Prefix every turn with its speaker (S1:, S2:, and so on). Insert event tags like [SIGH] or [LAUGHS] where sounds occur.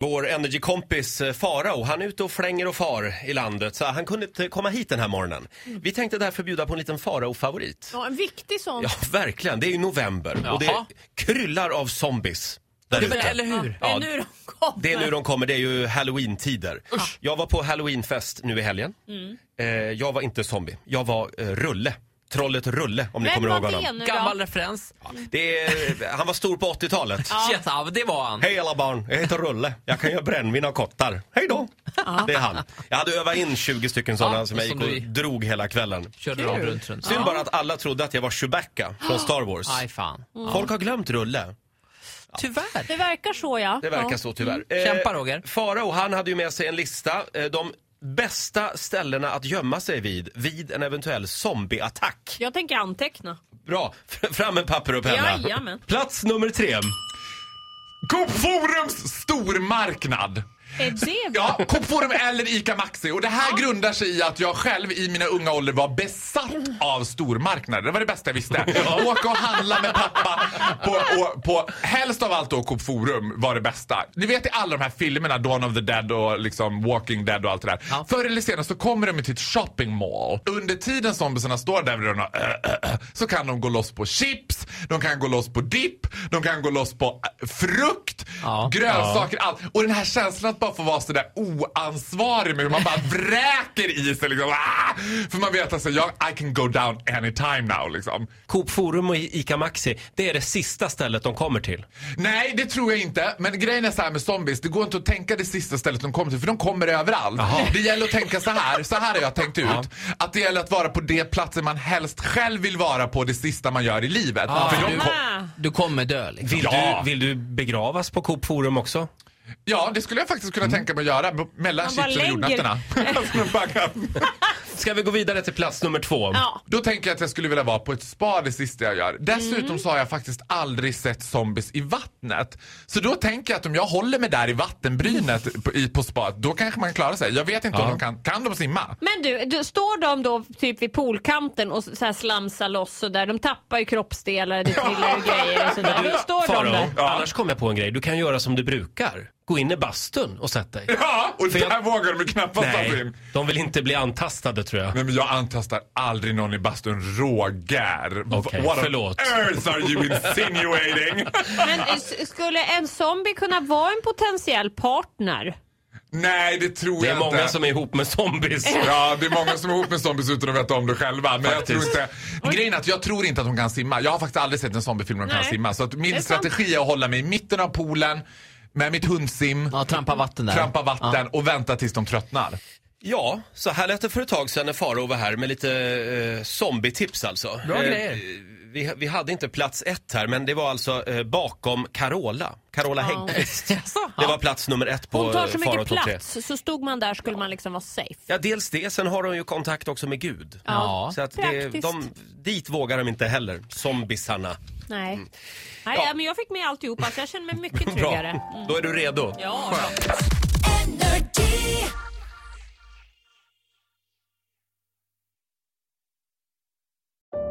S1: Vår energikompis eh, Farao, han är ute och flänger och far i landet så han kunde inte komma hit den här morgonen. Vi tänkte därför bjuda på en liten Farao-favorit.
S2: Ja, en viktig sån.
S1: Ja, verkligen. Det är ju november och det
S3: Jaha.
S1: kryllar av zombies där
S3: men
S1: ute.
S3: eller hur?
S1: Ja,
S2: Det är nu de kommer.
S1: Det är nu de kommer, det är ju halloween-tider. Jag var på halloweenfest nu i helgen.
S3: Mm.
S1: Eh, jag var inte zombie, jag var eh, Rulle. Trollet Rulle, om ni
S2: Vem
S1: kommer ihåg
S2: var det
S1: honom.
S2: nu
S3: Gammal
S2: då?
S3: referens.
S1: Det är, han var stor på 80-talet.
S3: Shit, Ja. det var han.
S1: Hej alla barn, jag heter Rulle. Jag kan göra brännvin av kottar. Hej då! Det är han. Jag hade övat in 20 stycken sådana
S3: Ja,
S1: som jag gick
S3: som
S1: och
S3: du-
S1: drog hela kvällen.
S3: Körde av runt runt.
S1: Synd bara att alla trodde att jag var Chewbacca från Star Wars.
S3: Aj fan.
S1: Folk har glömt Rulle.
S3: Tyvärr.
S2: Det verkar så ja.
S1: Det verkar
S2: ja.
S1: så tyvärr.
S3: Mm.
S1: Eh,
S3: Kämpa, Roger.
S1: Farao, han hade ju med sig en lista. Eh, de bästa ställena att gömma sig vid, vid en eventuell zombieattack.
S2: Jag tänker anteckna.
S1: Bra, F- fram med papper och penna.
S2: Jajamän.
S1: Plats nummer tre.
S4: Coop Forums stormarknad.
S2: Är det bra?
S4: Ja, Coop Forum eller ICA Maxi. Och det här grundar sig i att jag själv i mina unga ålder var besatt av stormarknader. Det var det bästa jag visste. Åka och handla med pappa på, och, på helst av allt då Coop Forum var det bästa. Ni vet i alla de här filmerna, Dawn of the Dead och liksom Walking Dead och allt det där.
S3: Ja.
S4: Förr eller senare så kommer de till ett shopping mall. Under tiden zombiesarna står där vid och, äh, äh, så kan de gå loss på chips, de kan gå loss på dipp, de kan gå loss på äh, frukt,
S3: Ja.
S4: grönsaker, allt. Och den här känslan att bara få vara sådär oansvarig med hur man
S2: [LAUGHS]
S4: bara vräker i sig liksom. Ah! För man vet alltså, jag, I can go down anytime now liksom.
S1: Coop Forum och ICA Maxi, det är det sista stället de kommer till.
S4: Nej, det tror jag inte. Men grejen är så här med zombies, det går inte att tänka det sista stället de kommer till för de kommer överallt. Det gäller att tänka så här, så här har jag tänkt ut. Att det gäller att vara på det platsen man helst själv vill vara på det sista man gör i livet. För de
S3: du,
S4: kom-
S2: Äh.
S3: du kommer dö liksom.
S1: Vill,
S4: Ja.
S1: du, vill du begravas på Coop Forum också?
S4: ja, det skulle jag faktiskt kunna tänka mig att göra b- mellan
S2: Mm. Man bara
S4: chipsen och
S2: lägger-
S4: jordnötterna. [LAUGHS] Alltså, man bara kan-
S1: Ska vi gå vidare till plats nummer två?
S2: Ja.
S4: Då tänker jag att jag skulle vilja vara på ett spa det sista jag gör. Dessutom så har jag faktiskt aldrig sett zombies i vattnet. Så då tänker jag att om jag håller mig där i [LAUGHS] vattenbrynet på, i, på spa, då kanske man klarar sig. Jag vet inte om de kan, kan de simma?
S2: Men du, du, står de då typ vid poolkanten och så här slamsar loss och där, de tappar ju kroppsdelar, det trillar ju grejer och sådär. Då står de
S1: Faro,
S2: där.
S1: annars kom jag på en grej. Du kan göra som du brukar. Gå in i bastun och
S4: [LAUGHS]
S1: sätt dig.
S4: [LAUGHS] Ja, och
S1: För
S4: där
S1: jag-
S4: vågar de ju knappast ta sig
S1: Nej,
S4: in.
S1: de vill inte bli antastade tror jag.
S4: Nej men jag antastar aldrig någon i bastun. Roger.
S1: Okej,
S4: What
S1: förlåt.
S4: on earth are you [LAUGHS] insinuating?
S2: Men eh, s- skulle en zombie kunna vara en potentiell partner?
S4: Nej, det tror
S1: Det är
S4: jag inte.
S1: många som är ihop med
S2: [LAUGHS]
S1: zombies.
S4: Ja, det är många som är ihop med zombies utan att veta om det själva. Men jag
S1: Faktiskt.
S4: tror inte... Grejen är att jag tror inte att de kan simma. Jag har faktiskt aldrig sett en zombiefilm där de kan
S2: Nej.
S4: simma. Så att
S2: Det är
S4: min strategi är att hålla mig i mitten av poolen med mitt hundsim,
S3: Ja, trampa vatten där.
S4: trampa vatten och vänta tills de tröttnar.
S1: Ja, så här lät det för ett tag sedan när Faro var här med lite eh, zombietips alltså.
S3: Bra grejer.
S1: vi, vi hade inte plats ett här, men det var alltså eh, bakom Carola. Carola
S2: [LAUGHS]
S1: Häggkvist. Det var plats nummer ett på
S2: Hon tar så
S1: eh, Faro
S2: mycket
S1: topp tre.
S2: plats, så stod man där skulle man liksom vara safe.
S1: Ja, dels det. Sen har hon ju kontakt också med Gud.
S3: Ja.
S1: Så att det,
S2: Praktiskt.
S1: de, dit vågar de inte heller, zombisarna.
S2: Nej. Nej, men jag fick med alltihopa så jag känner mig mycket tryggare.
S1: Mm. Bra,
S2: Mm.
S1: då är du redo.
S2: Ja,